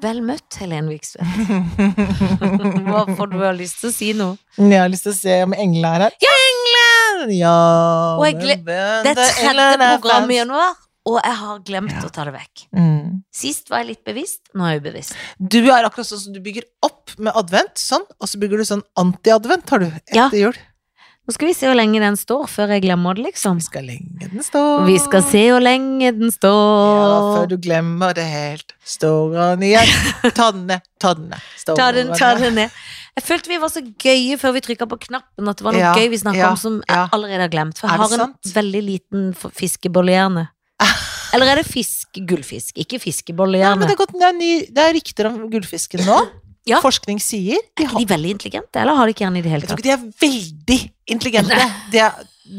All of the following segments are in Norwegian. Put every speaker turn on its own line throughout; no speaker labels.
Vel møtt, Helen Vikstvedt. Hvorfor du har lyst til å si noe?
Men Jeg har lyst til å se om Engla er her. Ja, Engla! Ja,
Og jeg gle- Det er tredje program i januar, og jeg har glemt å ta det vekk.
Mm.
Sist var jeg litt bevisst, nå er jeg ubevisst.
Du er akkurat sånn som du bygger opp med advent, sånn, og så bygger du sånn anti-advent, har du,
Ja.
etter jul.
Nå skal vi se hvor lenge den står før jeg glemmer det, liksom.
Vi skal lenge den står.
Vi skal se hvor lenge den
Ja, før
står.
du glemmer det helt. Står han igjen. Ta den ned, ta den ned. Står
Ta den,
han
ta
ned.
den ned. Jeg følte vi var så gøye før vi trykka på knappen, at det var noe
Ja,
gøy vi snakka
ja,
om som
ja.
jeg allerede har glemt. For
Er
jeg
det
har en
sant?
veldig liten f- fiskebollehjerne. Eller er det fisk gullfisk? Ikke
Ja, men
fiskebollehjerne.
det, er godt, det, er ny, det er rykter om gullfisken nå.
Ja.
Forskning sier de
Er
har
de veldig intelligente, eller har de ikke hjerne i det
Jeg
hele tatt?
tror ikke de er veldig intelligente. Det er-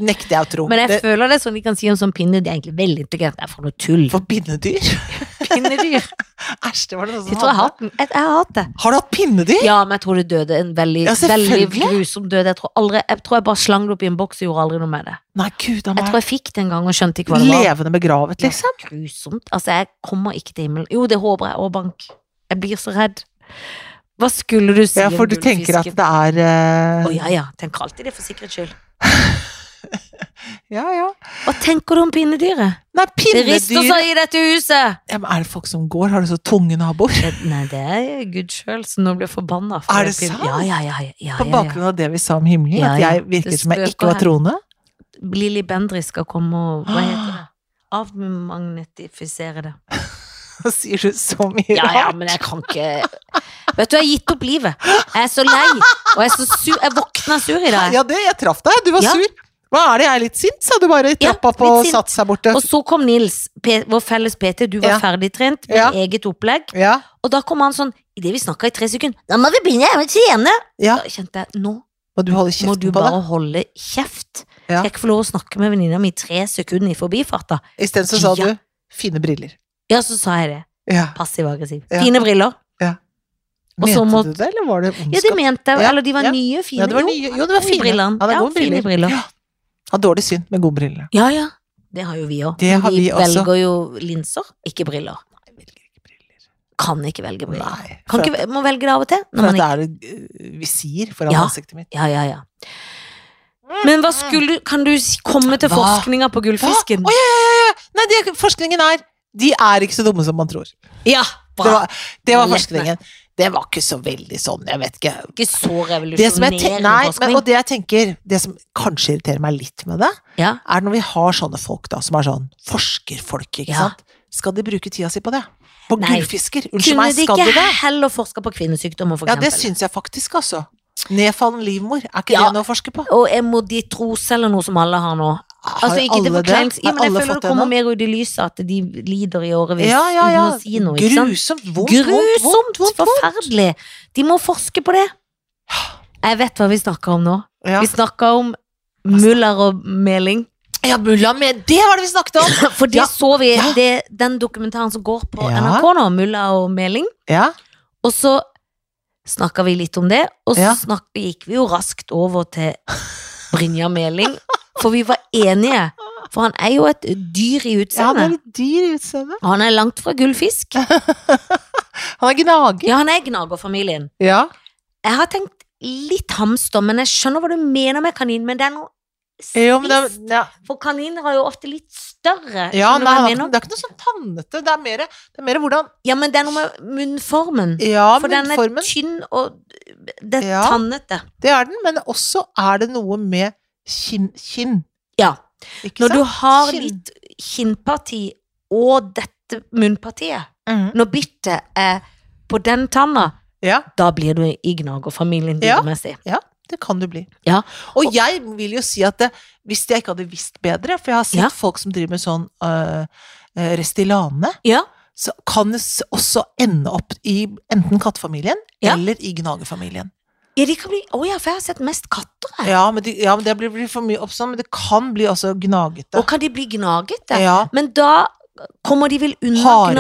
nekter jeg å tro.
Men jeg
det,
føler det er sånn de kan si om sånn pinne, de er egentlig veldig intelligente. Det er for noe tull.
for pinnedyr?
Pinnedyr.
Æsj, det var det noen som
Jeg tror jeg har hatt
hadde.
den. Jeg, jeg har hatt det.
Har du hatt pinnedyr?
Ja, men jeg tror det døde en veldig,
Ja,
veldig
selvfølgelig.
grusom død. Jeg tror, aldri, jeg tror jeg bare slang det opp i en boks og gjorde aldri noe med det.
Nei, gud
Jeg
a meg.
tror jeg fikk det en gang og skjønte ikke hva det var.
Levende begravet,
Det var
liksom.
Grusomt. Altså, jeg kommer ikke til himmelen. Jo, det håper jeg. Og bank. Jeg blir så redd. Hva skulle du si
Ja, for
om
du tenker at
gullfisken?
det er eh,
Å ja, ja. Tenker alltid det for sikkerhets skyld.
ja, ja.
Hva tenker du om pinnedyret?
Nei,
Det rister
pinnedyr
seg i dette huset!
ja, men Er det folk som går? Har du så tunge naboer?
Det, nei, det er Gud sjøl som nå blir forbanna. for
Er det
pin-
sant?
Ja, ja, ja. ja, ja, ja,
På
ja.
bakgrunn av det vi sa om himmelen,
Ja,
at
ja.
jeg virker
Det
som jeg
spøker
ikke var
her.
troende?
Lilly Bendriss skal komme og Hva
Ah.
heter det? Avmagnetifisere det.
Så sier du så mye
Ja, ja,
rart.
men jeg kan ikke Vet du, jeg har gitt opp livet. Jeg er så lei, og jeg er så sur. Jeg våkna sur i dag.
Ja, det, jeg traff deg. Du var
Ja.
sur. Hva er det, jeg er litt sint, sa du bare i
Ja,
trappa på
litt sint.
Sats her borte.
Og så kom Nils, P vår felles PT, du var
Ja.
ferdigtrent med
Ja.
eget opplegg.
Ja,
Og da kom han sånn, idet vi snakka i tre sekunder, da må vi begynne, jeg må trene.
ja.
Da kjente jeg, nå
Må du holde
må du
kjeften på
bare
det?
holde kjeft.
Ja.
Skal jeg ikke få lov å snakke med venninna mi i tre sekunder i forbifarta?
Isteden så sa
Ja.
du 'fine briller'.
Ja, så sa jeg det.
Ja.
Passiv-aggressiv.
Ja.
Fine briller. Og så
Mente
må-
du det, eller var det ondskap?
Ja, det mente jeg.
Ja,
Eller de var
ja.
nye, fine.
Ja, det var nye. Jo, det var fine.
Brillene.
Han
Ja,
har gode
fine
briller.
briller.
Ja. Har dårlig syn, men gode briller.
Ja, ja. Det har jo vi òg.
Det har
vi
vi også.
velger jo linser, ikke briller.
Jeg velger ikke briller.
Kan ikke velge briller.
Nei.
Kan
for
ikke, må velge det av og til.
at, for
Når
at
man
det
ikke,
er et visir foran
Ja.
ansiktet mitt.
ja, ja, ja. Men hva skulle Kan du si- komme til
Hva?
forskninga på gullfisken?
Hva? Å, ja, ja, ja, ja. Nei, det, forskningen er De er ikke så dumme som man tror.
Ja,
Det
bra.
var, det var
Lett,
forskningen. Det var ikke så veldig sånn, jeg vet ikke.
Ikke så
Det som jeg
revolusjonerende
ten- nei, men,
forskning.
og det jeg tenker, det som kanskje irriterer meg litt med det,
Ja.
er når vi har sånne folk da, som er sånn forskerfolk, ikke
Ja.
sant. Skal de bruke tida si på det? På
Nei.
gullfisker? Unnskyld
Kunne
meg,
de
skal de
ikke
det?
heller forska på kvinnesykdommer, for
Ja, det
eksempel?
syns jeg faktisk, altså. Nedfallen livmor, er ikke
Ja.
det noe å forske på?
og emoditrose eller noe som alle har nå.
Har
Altså ikke til
alle det?
forkleinelse, ja,
Har
men jeg
alle
føler
fått
det kommer
nå?
mer ut i lyset at de lider i årevis
Ja, ja, ja.
uten å si noe. Ikke sant?
Grusomt, vondt, vondt,
Grusomt!
vondt, vondt, vondt.
Forferdelig! De må forske på det. Jeg vet hva vi snakker om nå.
Ja.
Vi snakker om Muller og Meling.
ja, mulla med Det var det vi snakket om!
For det
Ja.
så vi
Ja.
det, den dokumentaren som går på
Ja.
NRK nå, Muller og Meling.
Ja,
Og så snakka vi litt om det, og så
Ja.
snakk, gikk vi jo raskt over til Brynja Meling. For vi var enige. For han er jo et dyr i
ja det er
utseendet.
litt dyr i utseendet.
han er langt fra gullfisk.
Han er gnager.
Ja, han er gnagerfamilien.
Ja.
Jeg har tenkt litt hamster, men jeg skjønner hva du mener med kanin. Men det er noe
Jo, men det, er-
spist.
ja.
For kaniner er jo ofte litt større.
Ja,
Skjønner du hva
nei, han
jeg
har ikke-
mener?
det er ikke noe sånn tannete. Det er mer, det er mer hvordan
ja, men det er noe med munnformen.
Ja,
For den er
munnformen.
tynn og det er
Ja.
tannete.
Det er den, men også er det noe med kinn. kinn
Ja.
ikke
Når du
sant?
har
Kinn.
litt kinnparti og dette munnpartiet,
Mhm.
når byttet er på den tanna,
Ja,
da blir du i gnagerfamilien
Ja.
dyremessen.
det kan du bli.
Ja.
Og jeg vil jo si at det, hvis jeg ikke hadde visst bedre, for jeg har sett
Ja.
folk som driver med sånn øh, øh, Restylane,
Ja.
så kan det s- også ende opp i enten kattefamilien
Ja.
eller i gnagerfamilien.
ja, de kan bli Å ja, for jeg har sett mest katter. jeg.
Ja, men, de, ja, men det blir, blir for mye oppstand, men det kan bli også gnagete.
Og kan de bli gnagete?
ja.
Men da kommer de vel unna
Harepus.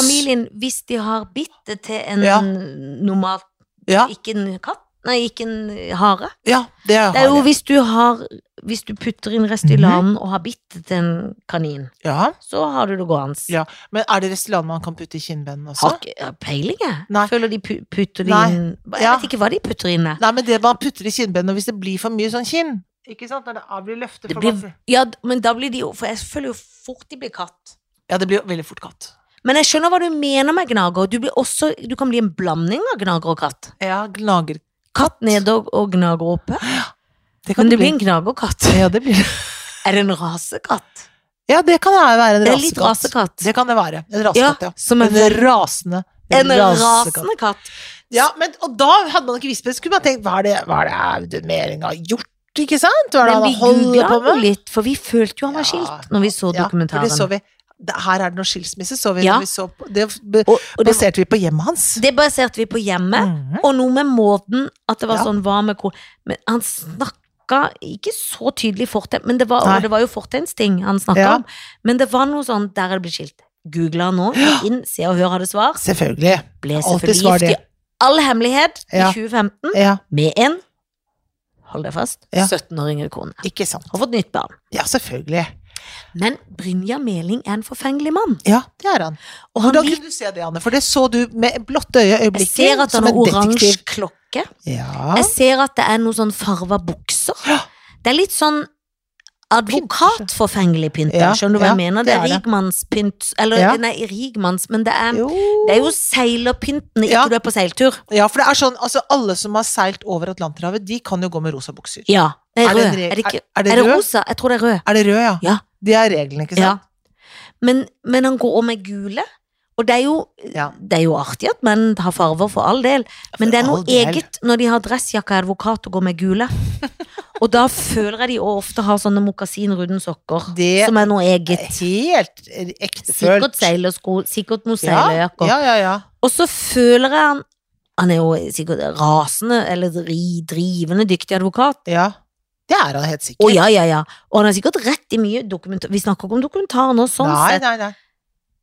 gnagerfamilien hvis de har bitt det til en
Ja.
normal
Ja.
Ikke en katt, Nei, ikke en hare.
Ja, Mhm. det er,
Det er jo
hare.
hvis du har Hvis du putter inn restylanen og har bitt til en kanin,
Ja.
så har du det gående.
Ja, Men er det Restylane man kan putte i kinnbenen også?
Har ikke jeg har peiling, jeg.
Nei.
Føler de pu- putter det
Nei.
inn Jeg
Ja.
vet ikke hva de putter inn der.
Nei, men det man putter i kinnbenen, og hvis det blir for mye sånn kinn Ikke sant? Når det er- blir løftet
Det
for
blir-
masse
Ja, d- men da blir de jo For jeg føler jo fort de blir katt.
Ja, det blir jo veldig fort katt.
Men jeg skjønner hva du mener med gnager. Du, blir også, du kan bli en blanding av gnager og katt.
Ja, gnager.
Katt nede og, og gnager oppe.
Det
Men det blir en gnagerkatt.
Ja, det blir
Er det en rasekatt?
Ja, det kan være en
Det er litt
rasekatt.
rasekatt.
Det kan det være. En
Ja,
rasekatt, ja.
som
En
en,
rasende
en
rasekatt.
rasende katt.
Ja, men, og da hadde man ikke visst det. Skulle man tenkt hva er det, hva er det Audun har gjort? Ikke sant? Hva er det
Men vi
han holder
googla
på
jo
med?
litt, for vi følte jo han var
Ja.
skilt når vi så
for det så
dokumentaren.
vi. Det- Her er det noe skilsmisse, så vi.
Ja.
når Vi så på, det be-
Og, og det,
baserte vi på hjemmet hans.
det baserte vi på hjemmet,
Mhm.
og noe med måten at det var
Ja.
sånn hva med hvor Men han snakka ikke så tydelig fortegn, men det var,
Nei.
og det var jo fortegnsting han snakka
Ja.
om. Men det var noe sånn der er det ble skilt. Googla nå,
Ja.
inn, se og hør hadde svar.
Selvfølgelig.
Ble
Alltid
selvfølgelig
svar
gift i
det.
all hemmelighet
Ja.
i 2015
Ja,
med en Hold deg fast.
Ja.
17 år yngre kone.
ikke sant.
Har fått nytt barn.
Ja, selvfølgelig.
Men Brynja Meling er en forfengelig mann.
Ja, det er han.
Og han
Hvordan
liker
kunne du se det, Anne? For det så du med blotte øye
Jeg
øyeblikket.
ser at han
som
har
en
oransje
detektiv.
klokke.
Ja.
Jeg ser at det er noe sånn farva bukser.
Ja.
Det er litt sånn advokatforfengelig pynta.
Ja,
Skjønner du hva
ja,
jeg mener? Det
det
er
er det.
rigmannspynt Eller
Ja.
nei, rigmanns, men det er,
Jo.
det er jo seilerpynten ikke
Ja.
du er på seiltur.
ja, for det er sånn, altså alle som har seilt over Atlanterhavet, de kan jo gå med rosa bukser.
Ja. Det
Er
er
det en
rød.
reg-
Er det, ikke,
er- er
er
det
det
rød?
rosa? Jeg tror det er rød.
Er det rød, ja?
Ja.
Det er reglene, ikke
Ja.
sant?
Men, men han går også med gule. Og det er, jo,
Ja.
det er jo artig at menn har farver, for all del. Men det er noe
all del.
eget når de har dressjakke og advokat og går med gule. Og da føler jeg de ofte har sånne mokasinrunde sokker,
Det-
som er noe
er
eget.
Helt ektefølt.
Sikkert seilersko, sikkert noe
ja,
seilerjakker.
ja, ja, ja.
Og så føler jeg han Han er jo sikkert rasende, eller dri, drivende dyktig advokat.
ja. Det er han helt
Å
sikkert.
ja, ja, ja. Og han har sikkert rett i mye dokumentar... Vi snakker ikke om dokumentar nå, sånn
nei,
sett.
nei, nei.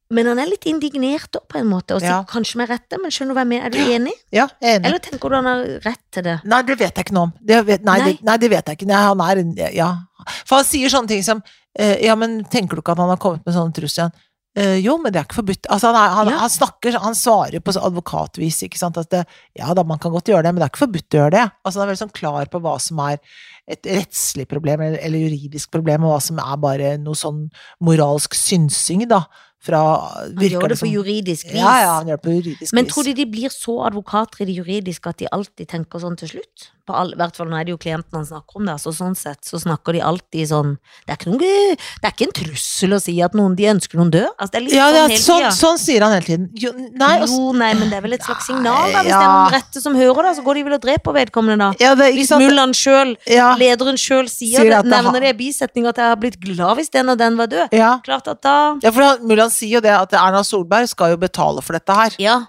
Men han er litt indignert da, på en måte, og
Ja.
sier kanskje med rette, men skjønner du hva jeg mener? Er du enig?
Ja, jeg er enig.
Eller tenker du han har rett til det?
Nei, det vet jeg ikke noe om. Det vet, nei, Det, nei, det vet jeg ikke. Nei, han er en Ja. For han sier sånne ting som eh, Ja, men tenker du ikke at han har kommet med sånne trusler igjen? Eh, jo, men det er ikke forbudt. Altså, han, er, han,
Ja.
han snakker Han svarer på så advokatvis, ikke sant, at det, ja da, man kan godt gjøre det, men det er ikke forbudt å gjøre det. Altså, han er veldig sånn klar på hva som er et rettslig problem eller, eller juridisk problem, og hva som er bare noe sånn moralsk synsing, da. Fra
Han gjør det på
som-
juridisk vis.
Ja, ja, han gjør det på juridisk
Men
vis.
tror du de blir så advokater i det juridiske at de alltid tenker sånn til slutt? På all, I hvert fall nå er det jo klienten han snakker om, da, så sånn sett så snakker de alltid sånn Det er ikke, noe, det er ikke en trussel å si at noen de ønsker noen dør. Altså, det er litt
ja, det
sånn
er,
hele
sånn,
tida.
sånn sier han hele tiden. Jo, nei, altså, og
jo, nei, men det er vel et slags
Nei,
signal, da. Hvis det er
ja.
noen rette som hører det, så går de vel og dreper vedkommende, da.
Ja, det er ikke
Hvis
sant.
mullaen sjøl
Ja,
lederen sjøl sier,
Ah. Sier
det,
at det
nevner
har-
det i bisetninga at jeg har blitt glad hvis den og den var død.
ja.
Klart at da
ja for han- Mulan sier jo det at Erna Solberg skal jo betale for dette her.
Ja,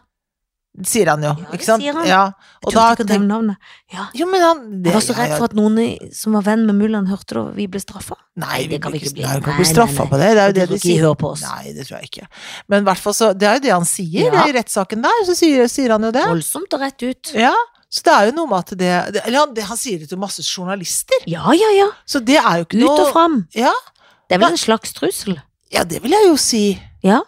Det sier han jo,
Ja, det
ikke sant?
sier han.
Ja,
jeg
og
trodde
da
ikke å nevne navnet. Ja.
Jo, men han det,
Jeg var så
ja,
redd
ja.
for at noen i- som var venn med mullaen, hørte det, og vi ble straffa.
Nei,
det kan vi ikke bli.
Nei, vi kan
Nei,
bli
nei,
straffa
nei.
på det. Det er jo
Jeg
det
tror
de
ikke de
sier.
hører på oss.
Nei, det tror jeg ikke. Men i hvert fall så Det er jo det han sier
Ja.
i rettssaken der, så sier, sier han jo det.
Voldsomt og rett ut.
Ja. Så det er jo noe med at det, det Eller han, det, han sier det til masse journalister,
Ja, ja, ja.
så det er jo ikke
Ut
noe
og fram.
Ja.
Det er vel en slags trussel.
ja, det vil jeg jo si.
Ja.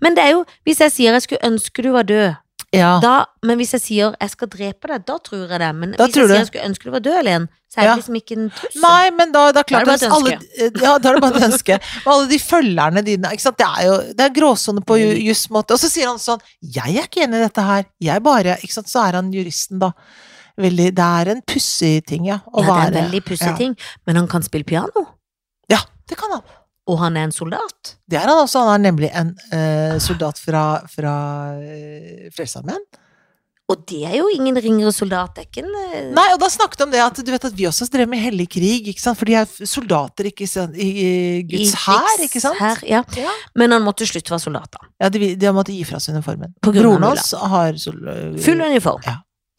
Men det er jo Hvis jeg sier jeg skulle ønske du var død,
Ja.
da Men hvis jeg sier jeg skal drepe deg, da tror jeg det. Men
Da
hvis jeg
tror du.
sier jeg skulle ønske du var død, Elen, så er det
Ja.
liksom ikke en trussel.
Nei, men da, da, klart,
Da er det bare et
alle, ja, da er det bare et ønske. Og alle de følgerne dine ikke sant? Det er jo det er gråsone på ju-
Mm.
jussmåte. Og så sier han sånn Jeg er ikke enig i dette her. Jeg bare ikke sant? Så er han juristen, da. Veldig, det er en pussig ting, ja. Å
ja, det er en
være
veldig pussig
ja.
ting. Men han kan spille piano,
Ja, det kan han.
og han er en soldat.
Det er han også. Han er nemlig en eh, soldat fra, fra eh, Frelsesarmeen.
Mm. Og det er jo ingen ringere soldat, det er ikke en eh,
Nei, og da snakket de om det at du vet at vi også drev med hellig krig, ikke sant. For de er f- soldater ikke sant? i, i Guds
i
hær,
krigs-
ikke sant.
hær, ja.
Ja.
Men han måtte slutte å være soldat, da.
Ja, de, vil- de har måttet gi fra seg uniformen.
På grunn av
Broren
Mulla.
hans har sol-
Full uniform.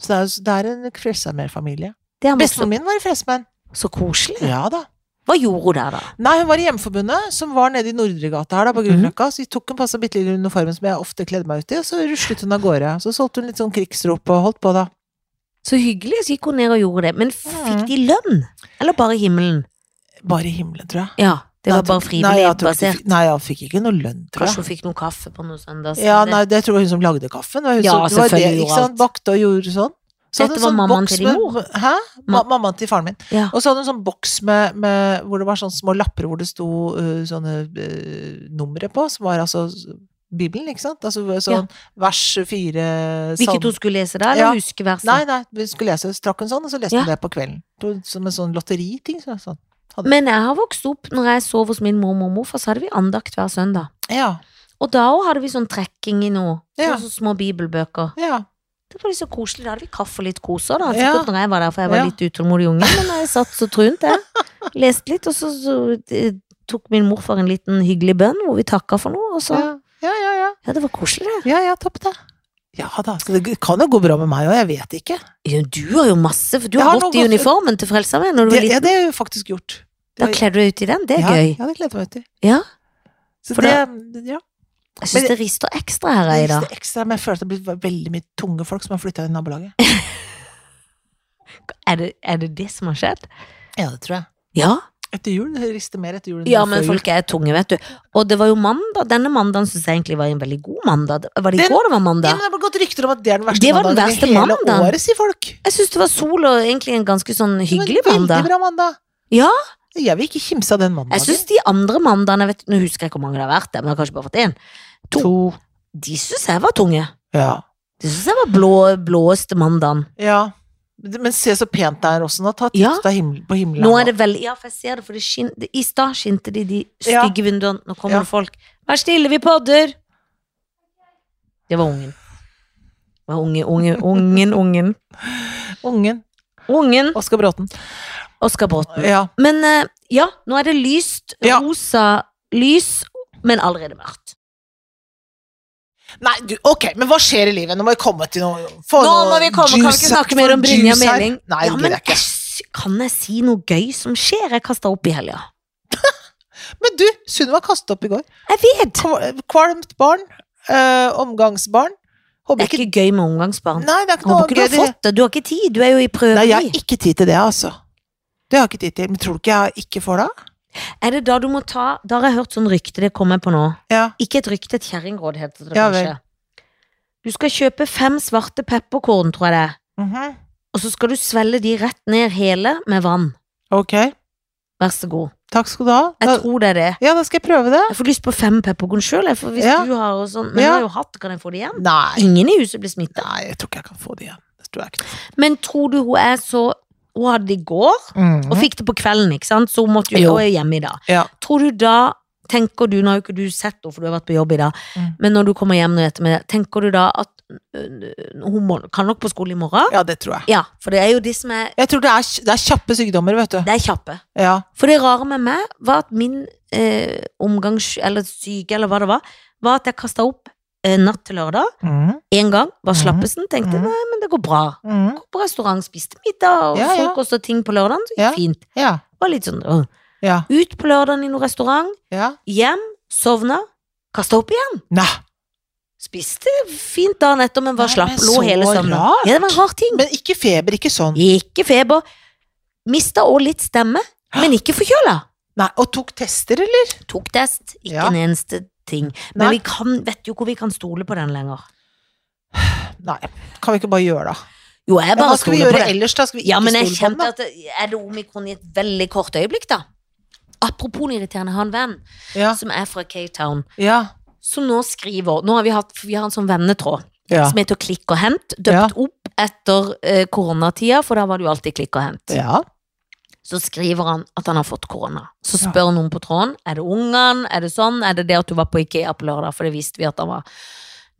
Så det er, så det er en Frelsesarmeen-familie.
Det har han også.
Bestemoren min var i Frelsesarmeen.
Så koselig.
Ja da.
Hva gjorde hun der, da?
Nei, hun var i Hjemmeforbundet, som var nede i Nordregata her, da, på
Mhm.
Grünerløkka. Så vi tok en passe bitte lille uniformen som jeg ofte kledde meg ut i, og så ruslet hun av gårde. Så solgte hun litt sånn krigsrop og holdt på, da.
Så hyggelig, så gikk hun ned og gjorde det. Men fikk
Mm.
de lønn? Eller bare himmelen?
Bare i himmelen, tror jeg.
Ja, det
Nei,
var bare
jeg tror- nei,
frivillig
jeg tror ikke-
basert.
Nei, jeg fikk ikke noe lønn,
Kanskje
tror jeg.
hun fikk noe kaffe på noe søndag.
Ja, nei, det tror jeg hun som lagde kaffen. Det var hun
Ja,
som, det var
selvfølgelig
det,
gjorde
ikke sant? Bakte og gjorde sånn. Så hadde
Dette
hun
var
sånn
mammaen
boks
til din
med-
mor?
Hæ? Ma mammaen til faren min.
Ja.
Og så hadde hun sånn boks med, med, hvor det var sånne små lapper hvor det sto øh, sånne øh, numre på, som var altså Bibelen, ikke sant? Altså sånn vers fire salm-
Hvilket hun skulle lese da,
sånn. Ja.
eller huske verset?
Nei, nei, vi skulle lese, strakk hun sånn, og så leste
Ja.
hun det på kvelden. To- Som en sånn lotteriting. så- Sånn.
Men jeg har vokst opp, når jeg sov hos min mormor og morfar, så hadde vi andakt hver søndag.
Ja,
Og da også hadde vi sånn trekking i noe.
Ja.
Sånne små bibelbøker.
ja.
Det var litt så koselig. Da hadde vi kaffe og litt kos også, da.
Ja.
Sikkert når jeg var der, for jeg var
Ja.
litt utålmodig unge. Men jeg satt så trunt, jeg. Leste litt, og så, så eh, tok min morfar en liten hyggelig bønn hvor vi takka for noe, og så
Ja, sånn. ja, ja. ja.
Ja, det var koselig, det.
Ja, ja, topp det. Ja da, så det kan jo gå bra med meg òg, jeg vet ikke.
Ja, du har jo masse, for du
Jeg
har
har
gått
noe
i
godt-
uniformen til Frelsesarmeen når du var
Det, ja,
liten.
det er jo faktisk gjort.
Da kler du deg ut i den, det er
ja,
gøy.
Ja, det gleder jeg meg til.
Ja.
Så
For
det, ja.
Jeg
Men-
syns det rister ekstra her,
Det
Eida.
er ekstra, men jeg føler at det blir veldig mye tunge folk som har flytta inn i nabolaget.
Er det, er det det som har skjedd?
Ja, det tror jeg.
Ja.
Etter jul, det rister mer etter jul enn
Ja,
før
men
jul.
folk er tunge, vet du. Og det var jo mandag. Denne mandagen syns jeg egentlig var en veldig god mandag. Var det i
Den-
går det var
Ja,
mandag?
men det har gått rykter om at det er den verste
Det var den
mandagen
verste
i hele
mandagen.
året, sier folk.
Jeg syns det var sol og egentlig en ganske sånn
Det var en
hyggelig
Veldig
mandag.
bra mandag.
Ja.
Jeg vil ikke kimse av den mandagen.
Jeg syns de andre mandagene, vet du, nå husker jeg ikke hvor mange det har vært, der, men jeg har kanskje bare fått én, to. de syns jeg var tunge.
Ja.
De syns jeg var blå, blåeste mandagen.
ja. Men se så pent det er også nå. Ta titt
Ja.
ut av himmel, på himmelen.
Nå er det veldig Ja, for jeg ser det, for det skin, det, i stad skinte det i de
Ja.
stygge vinduene. Nå kommer
Ja.
det folk. Vær stille, vi podder! Det var ungen. Det var unge, unge, ungen, ungen.
Ungen.
Ungen
Oskar Bråten.
Oskar Bråten.
Ja.
Men eh, ja, nå er det lyst,
Ja.
rosa lys, men allerede mørkt.
Nei, du, ok, men hva skjer i livet? Nå må vi komme til noe få
Nå
noe
må vi komme, kan vi
juice
ikke
her,
snakke mer om
få
Brynja
juice her.
Meling?
Nei,
ja,
det
men
gidder jeg ikke.
æsj, kan jeg si noe gøy som skjer? Jeg kasta opp i helga.
Men du, Sunniva kastet opp i går.
Jeg vet!
Kva- Kvalmt barn. eh, omgangsbarn.
Det
Håper
er
ikke
ikke gøy med omgangsbarn.
Nei, det er ikke
Håper
noe
ikke du har
gøy.
fått det. Du har ikke tid. Du er jo i prøvetid.
Nei, jeg har ikke tid til det, altså. Det har jeg ikke tid til. Men tror du ikke jeg ikke får det?
Er det da du må ta Da har jeg hørt sånn rykte, det kommer jeg på nå.
Ja.
Ikke et rykte, et kjerringråd heter det
Ja, vel.
kanskje. Du skal kjøpe fem svarte pepperkorn, tror jeg det er.
Mhm.
Og så skal du svelle de rett ned hele med vann.
Ok,
Vær så god.
takk skal du ha. Da,
Jeg tror det er det.
ja, da skal jeg prøve det.
Jeg får lyst på fem pepperkorn sjøl, for hvis
Ja.
du har og sånn Men
Ja.
jeg har jo hatt, kan jeg få det igjen?
Nei.
Ingen i huset blir smitta.
Nei, jeg tror ikke jeg kan få det igjen. Det tror jeg ikke.
Men tror du hun er så Hun hadde det i går, og
Mhm.
fikk det på kvelden, ikke sant? Så hun måtte jo,
Jo.
og er hjemme i dag.
Ja.
Tror du da Tenker du, Nå har jo ikke du sett henne, for du har vært på jobb i dag,
Mm.
men når du kommer hjem nå i ettermiddag, tenker du da at øh, hun må, kan nok på skole i morgen?
ja, det tror jeg.
Ja, for det er jo de som er
Jeg tror det er, det er kjappe sykdommer, vet du.
Det er kjappe.
Ja.
For det rare med meg var at min eh, omgangs... Eller syke, eller hva det var, var at jeg kasta opp eh, natt til lørdag.
Mhm.
Én gang var
Mhm.
slappesen. Tenkte
Mhm.
nei, men det går bra.
Mhm.
Gå på restaurant, spiste middag og
Ja, ja.
frokost og ting på lørdagen. Så gikk
Ja.
fint.
Ja.
Det Var litt sånn øh.
Ja.
Ut på lørdagen i noen restaurant,
Ja.
hjem, sovna, kasta opp igjen.
Nei.
Spiste fint dagen etter, men var
Nei,
slapp.
men
Lå
så
hele søndag.
rart.
Ja, det var en rar ting.
Men ikke feber, ikke sånn.
Ikke feber. Mista òg litt stemme, men ikke forkjøla.
Nei, Og tok tester, eller?
Tok test, ikke
Ja.
en eneste ting. Men
Nei.
vi kan, vet jo hvor vi kan stole på den lenger.
Nei, kan vi ikke bare gjøre det?
Jo, jeg
Ja, hva
bare
skal vi
stoler på
gjøre
det.
ellers, da? Skal vi ikke
Ja, men jeg
stole på
kjente
den, da?
at det, Er det omikron i et veldig kort øyeblikk, da? Apropos irriterende, jeg har en venn
Ja,
som er fra Cape Town,
ja,
som nå skriver Nå har vi hatt for vi har en sånn vennetråd
ja,
som heter Klikk og hent,
Ja.
døpt opp etter eh, koronatida, for da var det jo alltid klikk og hent.
ja.
så skriver han at han har fått korona. Så spør noen på tråden er det ungene, er det sånn, er det det at du var på Ikea på lørdag, for det visste vi at han var.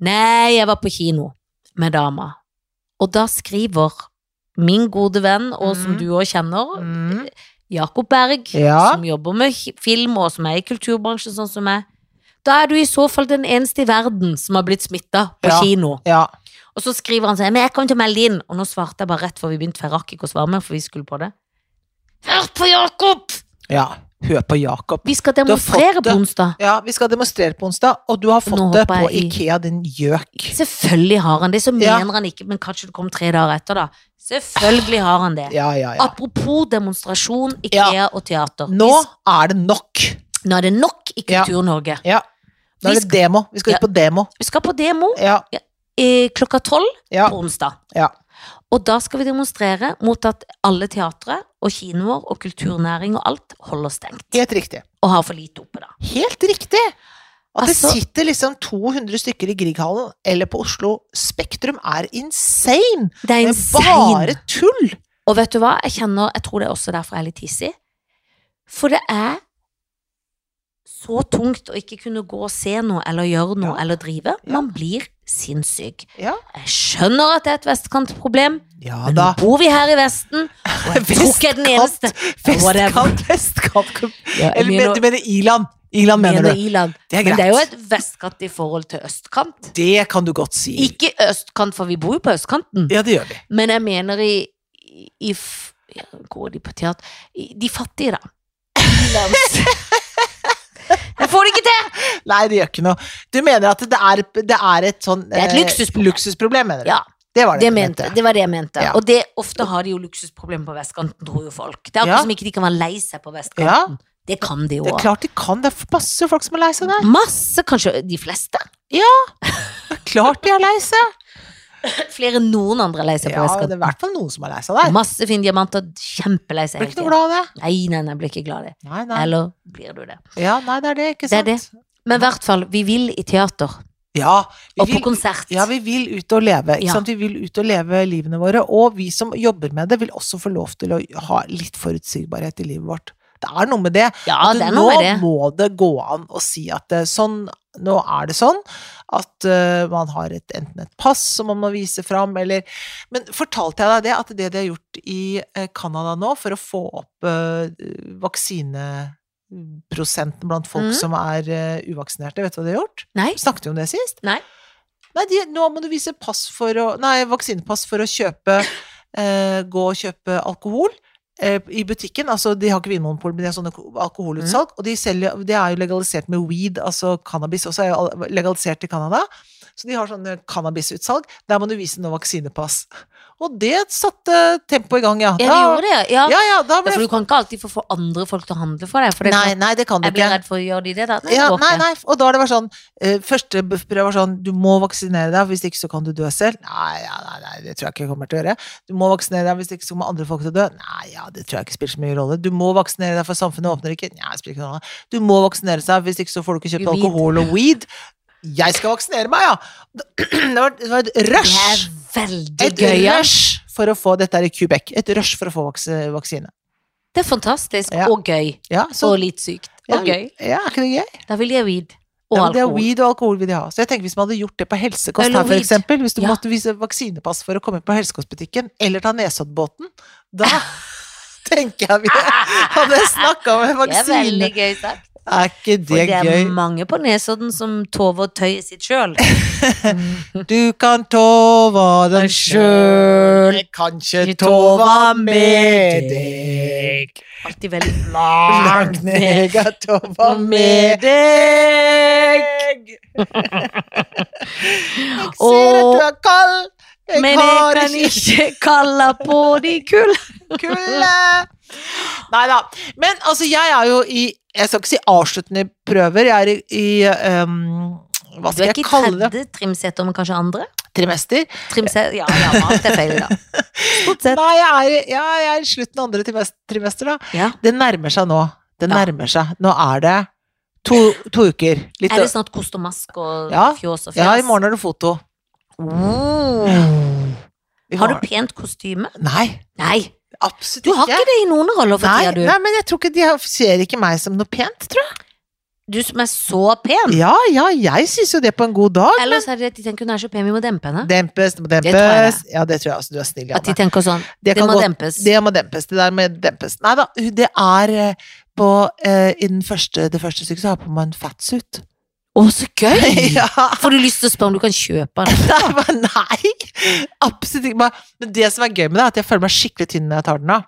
Nei, jeg var på kino med dama. Og da skriver min gode venn, og som
Mhm.
du òg kjenner,
Mm.
Jakob Berg,
Ja.
som jobber med hi- film, og som er i kulturbransjen, sånn som meg. Da er du i så fall den eneste i verden som har blitt smitta på
Ja.
kino.
ja.
Og så skriver han sånn, men jeg kommer til å melde inn. Og nå svarte jeg bare rett før vi begynte, for jeg rakk ikke å svare mer, for vi skulle på det. Hør på Jakob!
ja. Hør på Jakob.
Vi skal
har fått
demonstrere på
det.
onsdag.
Ja, vi skal demonstrere på onsdag, og du har fått
Nå
det
hopper
på
jeg i.
Ikea, din gjøk.
Selvfølgelig har han det, så
Ja.
mener han ikke, men kanskje det kom tre dager etter, da. Selvfølgelig har han det.
Ja, ja, ja.
Apropos demonstrasjon, Ikea og teater.
Nå
Vi
er det nok.
sk- Nå er det nok i
Ja.
Kultur-Norge.
Ja. Nå
Vi
er det demo. Vi skal
Ja.
ut på demo.
Vi skal på demo
Ja,
eh, klokka tolv
ja,
på onsdag.
Ja.
Og da skal vi demonstrere mot at alle teatre og kinoer og kulturnæring og alt holder stengt.
helt riktig.
Og har for lite oppe, da.
Helt riktig! At
Altså-
det sitter liksom 200 stykker i Grieghallen eller på Oslo Spektrum er insane!
Det er
Det er
insane.
bare tull!
Og vet du hva, jeg kjenner, jeg tror det er også derfor jeg er litt hissig. For det er så tungt å ikke kunne gå og se noe, eller gjøre noe,
Ja.
eller drive.
Ja.
Man blir sinnssyk.
Ja,
Jeg skjønner at det er et vestkantproblem,
ja
men
da.
nå bor vi her i Vesten, og jeg tror ikke jeg er den
Vestkant.
eneste. Whatever.
Vestkant, vestkant
Ja,
Eller men- du mener Iland? Iland mener du?
Iland.
Det er
Men
greit.
det er jo et vestkant i forhold til østkant.
Det kan du godt si.
Ikke østkant, for vi bor jo på østkanten.
Ja, det gjør vi.
Men jeg mener i, i, i f- ja, Går de på teater I- De fattige, da. Ilands. Jeg får det ikke til!
Nei, det gjør ikke noe. Du mener at det er, det er et sånn
Det er et
eh,
luksusproblem.
luksusproblem, mener du?
Ja,
Det var det
det,
du
mente, det var det jeg mente.
Ja.
Og det, ofte har de jo luksusproblemer på vestkanten, tror jo folk. Det er akkurat
Ja.
som ikke de kan være lei seg på
Ja,
vestkanten. Det kan de jo
det er
òg.
klart de kan. Det er masse folk som er lei seg der.
Masse, kanskje de fleste.
Det er klart de er lei seg.
Flere enn noen andre er lei seg på
Ja, det er i
vestkanten.
hvert fall noen som er lei seg der.
Masse fine diamanter, kjempelei seg
Blir
hele
ikke noe
tiden.
glad av det.
Nei, nei, nei, blir ikke glad i det.
Nei, nei.
Eller blir du det?
Ja, nei, det er det, ikke
Det er
sant?
det. Men i hvert fall, vi vil i teater.
Ja,
Og
vi
på
vil,
konsert.
ja, vi vil ut og leve. Ikke
Ja.
sant? Vi vil ut og leve livene våre. Og vi som jobber med det, vil også få lov til å ha litt forutsigbarhet i livet vårt. Det er noe med det.
Ja,
At
det er
nå
noe med det.
må det gå an å si at eh, sånn, nå er det sånn at eh, man har et, enten et pass som man må vise fram, eller Men fortalte jeg deg det, at det de har gjort i eh, Canada nå for å få opp eh, vaksineprosenten blant folk
Mhm.
som er eh, uvaksinerte, vet du hva de har gjort?
Nei.
Snakket vi om det sist?
Nei.
Nei, de, nå må du vise pass for å, nei, vaksinepass for å kjøpe eh, Gå og kjøpe alkohol eh, i butikken. Altså, de har ikke vinmonopol, men de har sånne ko- alkoholutsalg.
Mm.
Og de, selger, de er jo legalisert med weed, altså cannabis også er jo al- legalisert i Canada. Så de har sånne cannabisutsalg. Der må du vise nå vaksinepass. Og det satte tempoet i gang, ja.
Ja, de gjorde det, ja.
ja, ja, da
Ja,
ble
for du kan ikke alltid få, få andre folk til å handle for deg. For det er
Nei,
klart,
nei, det kan du
jeg blir
ikke.
redd for å gjøre de det. Da. Nei, det
Ja,
går
nei,
ikke.
nei, og da har det vært sånn eh, Første prøve var sånn Du må vaksinere deg, hvis ikke så kan du dø selv Nei, ja, nei, nei, det tror jeg ikke jeg kommer til å gjøre Du må vaksinere deg, hvis ikke så kommer andre folk til å dø Nei, ja, det tror jeg ikke spiller så mye rolle Du må vaksinere deg, for samfunnet åpner ikke Nei, det spiller ikke noe rolle Du må vaksinere seg, hvis ikke så får du ikke kjøpt
Weed.
alkohol og weed Jeg skal vaksinere meg, ja Det var, det var et
Det er
rush
veldig
Et
gøy. ja.
rush for å få, dette er i Quebec Et rush for å få vaks vaksine
Det er fantastisk
Ja.
og gøy.
Ja, så
og litt sykt. Og
ja,
gøy.
ja, er ikke det gøy?
Da vil jeg weed. Og
ja, men det er
alkohol.
weed og alkohol vil de ha. Så jeg tenker hvis man hadde gjort det på helsekost
Øl og
her, for
weed.
eksempel, hvis du
Ja.
måtte vise vaksinepass for å komme inn på helsekostbutikken, eller ta Nesoddbåten, da tenker jeg vi hadde snakka med
Det er veldig
vaksine.
gøy sagt.
Er ikke
For
det
det er
gøy?
mange på Nesodden som tover tøyet sitt sjøl.
Du kan tova den
Den
sjøl, jeg kan ikke tova med deg.
Alltid veldig
Langt ned, jeg kan tova med deg. Jeg ser at du er kald, jeg
Men jeg
har
kan
ikke
ikke kalle på de kull.
Kulde! Nei da. Men altså, jeg er jo i Jeg skal ikke si avsluttende prøver. Jeg er i, i ehm, Hva
Du
skal
er
jeg
ikke i
kalle det?
tredje trimseter, men kanskje andre?
Trimester?
Trimse ja, ja, alt er feil, da. Stort sett.
Nei, jeg er, i- ja, jeg er i slutten av andre trimes- trimester, da.
Ja.
Det nærmer seg nå. Det
Ja.
nærmer seg. Nå er det to, to uker. Litt
Er det snart kost og mask og
Ja.
fjås og fjas? Uh.
Ja, i morgen er det foto. I
Har du
morgen-
pent kostyme?
Nei,
Nei,
absolutt
du har ikke det i noen roller for
Nei,
tida, du.
nei, men jeg tror ikke de har- ser ikke meg som noe pent, tror
Du som er så pen.
jeg. Ja, ja, jeg syns jo det på en god dag.
Eller så er det at de tenker hun er så pen, vi må dempe henne.
Dempes, det må
Det tror jeg
dempes. ja, det tror jeg også. Du er snill,
At de
Janne.
tenker sånn.
Det,
Det
kan
må
godt-
dempes.
det må dempes. Det der med dempes. Nei da, det er eh, på eh, I den første, det første stykket så har jeg på meg en fatsuit.
Å, så gøy!
ja!
Får du lyst til å spørre om du kan kjøpe den?
Nei, men nei! Absolutt ikke. Men- Men det som er gøy med det, er at jeg føler meg skikkelig tynn når jeg tar den av.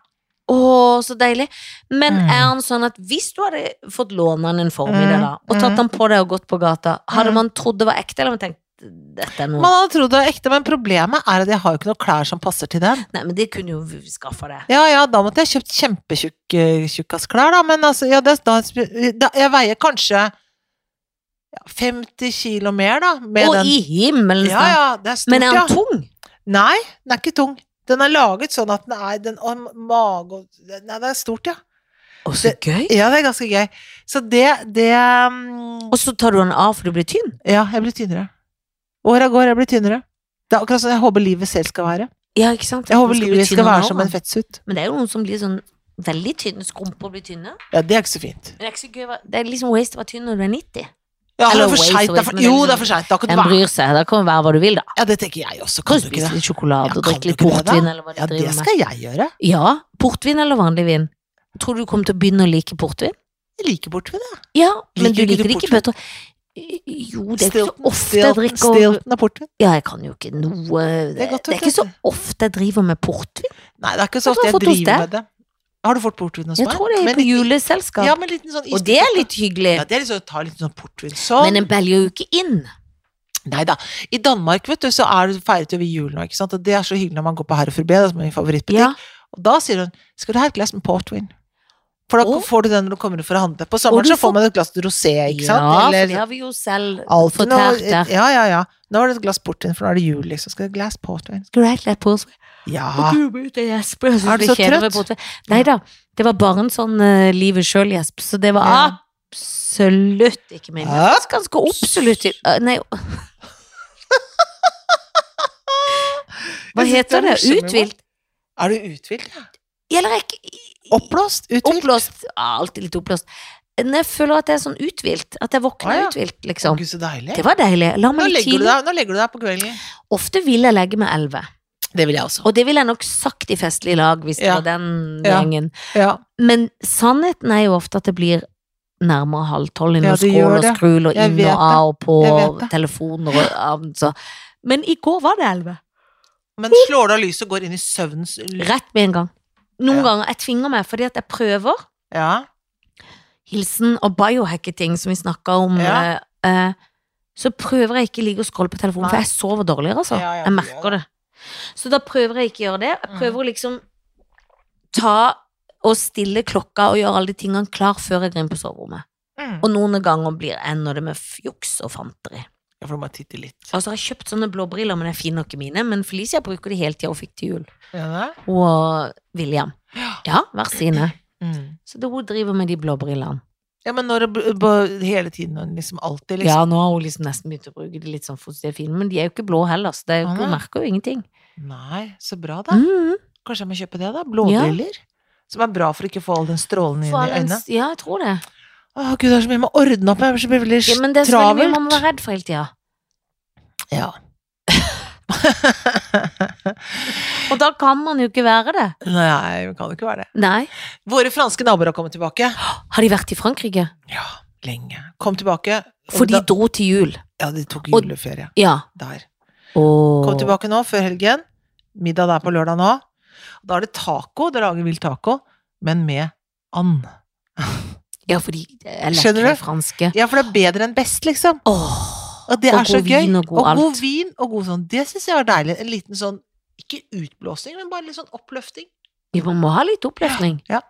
Å, så deilig. Men
Mm.
er han sånn at hvis du hadde fått låne han en form i
Mm,
det, da, og tatt
mm.
han på deg og gått på gata, hadde
Mm.
man trodd det var ekte, eller hadde man tenkt dette er noe
Man hadde trodd det var ekte, men problemet er at jeg har jo ikke noen klær som passer til dem.
Nei, men de kunne jo v- skaffa det.
Ja, ja, da måtte jeg kjøpt kjempetjukk eh, tjukkasklær, da, men altså, ja, det, da, da Jeg veier kanskje ja, 50 kilo mer, da, med
Og
den.
i himmelen!
Ja, ja, det er stort,
men er
ja.
han tung?
Nei, den er ikke tung. Den er laget sånn at den er den, og mage og Nei, det er stort, ja.
Å, så gøy!
Ja, det er ganske gøy. Så det, det mm,
Og så tar du han av for du blir tynn?
Ja, jeg blir tynnere. Åra går, jeg blir tynnere. Det er akkurat sånn jeg håper livet selv skal være.
Ja, ikke sant?
Jeg
At
håper
man bli
livet
tynn
skal være
av
som en
han.
fettsutt.
Men det er jo noen som blir sånn veldig tynne, skrumper og blir tynne.
Ja, det er ikke så fint.
Men det er ikke så gøy å være- Det er liksom waste å være tynn når du er 90.
Ja, det
Eller
er for
waste,
sent, det er
waste,
for,
men
jo,
liksom-
det er for seint. Da kan du
En
være
bryr seg. Da kan du være hva du vil, da.
Ja, det tenker jeg også.
Kan
Kan
du
du ikke
spise
det?
litt sjokolade
Ja,
og
kan
drikke
du
litt
ikke det, da?
portvin, eller hva de
Ja, det
driver med.
skal jeg gjøre.
Ja, portvin eller vanlig vin? Tror du du kommer til å begynne å like portvin?
Jeg liker bortvin, jeg.
Ja, men
Liker
du liker
ikke du
det ikke bedre. Jo, det er ikke så ofte jeg
Stilton,
drikker og-
Stilton og portvin.
Ja, jeg kan jo ikke noe Det
er godt,
det er ikke
vet du.
så ofte jeg driver med portvin.
Nei, det er ikke så
Vet du hva jeg har
ofte jeg
fått hos
driver
deg?
med det. Har du fått portvin hos meg?
Jeg tror det
Men
er på
litt-
juleselskap.
Ja, men liten sånn
og det er
isport-
litt hyggelig.
Ja, det er liksom å ta litt sånn portvin. Sånn.
Men eh, en belger jo ikke inn.
Nei da. I Danmark, vet du, så er det feiret jo vi jul nå, ikke sant. Og det er så hyggelig når man går på Herre Forbed, som er min favorittbutikk.
Ja.
Og da sier hun 'skal du ha et glass med portvin'? For da
Å.
får du den når du kommer for å handle. På
Og
sommeren
du
så
får-
får man et glass rosé, ikke sant?
Ja, for det
Eller
har vi jo selv
alt for noe.
fortært der.
Ja, ja, ja. Nå er det et glass portvin, for nå er det jul, liksom. Skal det et glass portvin?
Skal du ha et lett portvin?
Ja.
Du blir ute og gjesper, jeg synes
Er du
det
så
kjedelig
trøtt?
med portvin. Nei da, det var bare en sånn eh, livet sjøl-gjesp, så det var
Ja.
absolutt ikke min.
Ja.
Faktisk Ganske absolutt ikke Nei. Hva
Jeg synes
heter
det
det?
er morsomt,
Uthvilt?
Er du uthvilt? Ja.
Eller er ikke
Oppblåst? Uthvilt?
Oppblåst. Ja, alltid litt oppblåst. Men jeg føler at jeg er sånn uthvilt. At jeg våkner
Ah, ja.
uthvilt, liksom.
Gud, så deilig.
Det var deilig. La
Nå
meg litt
legger, du
tidlig.
deg, nå legger du deg på kvelden.
Ofte vil jeg legge meg elleve.
Det vil jeg også.
Og det ville jeg nok sagt i festlig lag, hvis det
Ja.
var den
Ja.
gjengen.
Ja.
Men sannheten er jo ofte at det blir nærmere halv tolv inn
Ja,
og
det
skål
gjør
og
det.
skrul og
Jeg
inn
vet
og av og på
Jeg
og
vet det.
telefoner og av- så. Men i går var det elleve.
Men slår du av lyset og går inn i søvnens l-
Uh. Rett med en gang. Noen
Ja.
ganger jeg tvinger meg fordi at jeg prøver.
Ja.
hilsen og biohacketing som vi snakka om,
Ja.
eh, eh, så prøver jeg ikke ligge og scrolle på telefonen, for
Nei.
jeg sover dårligere, altså.
Ja, ja,
jeg
du
merker
gjør
det. Så da prøver jeg ikke å gjøre det. Jeg
Mhm.
prøver å liksom ta og stille klokka og gjøre alle de tingene klar før jeg går inn på soverommet.
Mm.
Og noen ganger blir jeg når det med juks og fanteri.
Ja, for du må titte litt.
Altså, jeg har kjøpt sånne blåbriller, men jeg finner ikke mine. Men Felicia bruker de hele tida og fikk til jul.
Ja.
Og William.
Ja.
Ja, hver sine.
Mm.
Så det hun driver med de blåbrillene.
ja, men når det b- b- hele tiden og liksom alltid, liksom.
Ja, nå har hun liksom nesten begynt å bruke de litt sånn fosterlige filmene, men de er jo ikke blå heller, så det er jo
Ah,
ikke, hun
nei.
merker jo ingenting.
Nei, så bra da.
Mm.
Kanskje jeg må kjøpe det da? Blåbriller? Som er bra for ikke å få all den strålen inn
For
i
all den
øynene.
s- Ja, jeg tror det.
Å gud, det er så mye man ordner opp med. Jeg blir så veldig
Ja, men det er så veldig mye
travelt.
man må være redd for hele tida.
Ja.
Og da kan man jo ikke være det.
Nei, vi kan jo ikke være det.
Nei.
Våre franske naboer har kommet tilbake.
Har de vært i Frankrike?
Ja, lenge. Kom tilbake. og
For de
da-
dro til jul.
Ja, de tok
og-
juleferie
Ja.
der.
Og
Kom tilbake nå før helgen. Middag der på lørdag nå. Da er det taco. Dere lager vill taco, men med and.
Ja, for de er
Skjønner
lekre
du?
franske.
Ja, for det er bedre enn best, liksom.
Åh.
Og det
Og
er så
god
gøy.
vin og god
og god
alt.
vin og god sånn. Det syns jeg var deilig. En liten sånn, ikke utblåsning, men bare litt sånn oppløfting.
Ja, man må ha litt oppløftning.
Ja.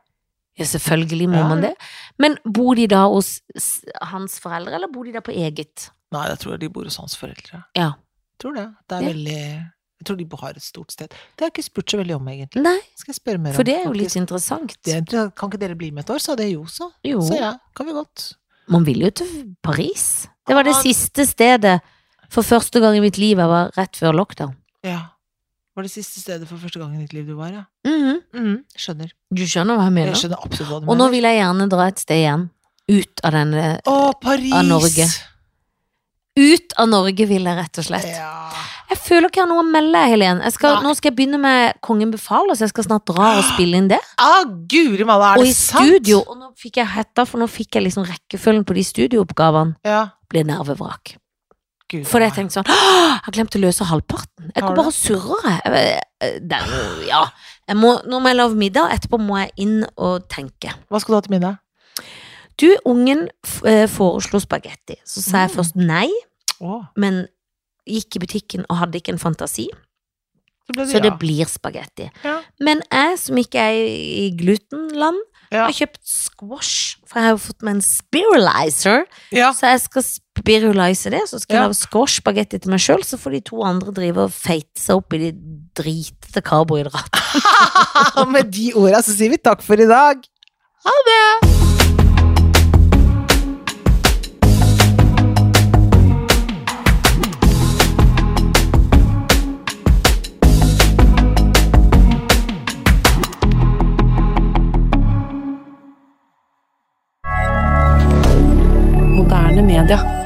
Ja, selvfølgelig må
Ja,
man
ja.
det. Men bor de da hos s- hans foreldre, eller bor de da på eget?
Nei, jeg tror de bor hos hans foreldre.
Ja.
Tror det. Det er
Ja.
veldig Jeg tror de har et stort sted. Det har jeg ikke spurt så veldig om, egentlig.
Nei,
Skal jeg spørre mer om.
for det er jo litt
faktisk.
interessant.
Det er interessant. Kan ikke dere bli med et år, sa det jo, så.
Jo.
Så ja, kan vi godt.
Man vil jo til Paris. Det var det
Ja.
siste stedet for første gang i mitt liv jeg var rett før lockdown.
Ja. Var det siste stedet for første gang i ditt liv du var, ja?
Mhm.
Mm, skjønner.
Du skjønner hva jeg
Jeg
mener?
skjønner absolutt hva du
Og nå
mener.
vil jeg gjerne dra et sted igjen. Ut av denne
Å, Paris!
Av Norge. Ut av Norge vil jeg, rett og slett.
Ja.
Jeg føler ikke jeg har noe å melde, Helen. Jeg skal,
Nei.
nå skal jeg begynne med Kongen befaler, så jeg skal snart dra og spille inn det.
Ah, guri malla, er
Og
det
i
sant?
studio. Og nå fikk jeg hetta, for nå fikk jeg liksom rekkefølgen på de studiooppgavene.
Ja.
Blir nervevrak.
Gud,
For jeg
nei.
tenkte sånn «Åh, Jeg glemte å løse halvparten. Jeg
Har
går
du?
bare og surrer, jeg. Jeg- jeg- Det er jo Ja. Jeg må, nå må jeg lage middag, etterpå må jeg inn og tenke.
Hva skal du ha til middag?
Du, ungen f eh, foreslo spagetti. Så sa jeg
Mm.
først nei,
Åh,
men gikk i butikken og hadde ikke en fantasi,
så ble det,
så det
ja.
blir spagetti.
Ja.
Men jeg, som ikke er i glutenland,
Ja.
har kjøpt squash, for jeg har jo fått meg en spiralizer.
ja.
Så jeg skal spirulise det, så skal
Ja.
jeg lage squash-spagetti til meg sjøl, så får de to andre drive og feite seg opp i de dritete karbohydratene.
Og med de orda så sier vi takk for i dag.
Moderne media.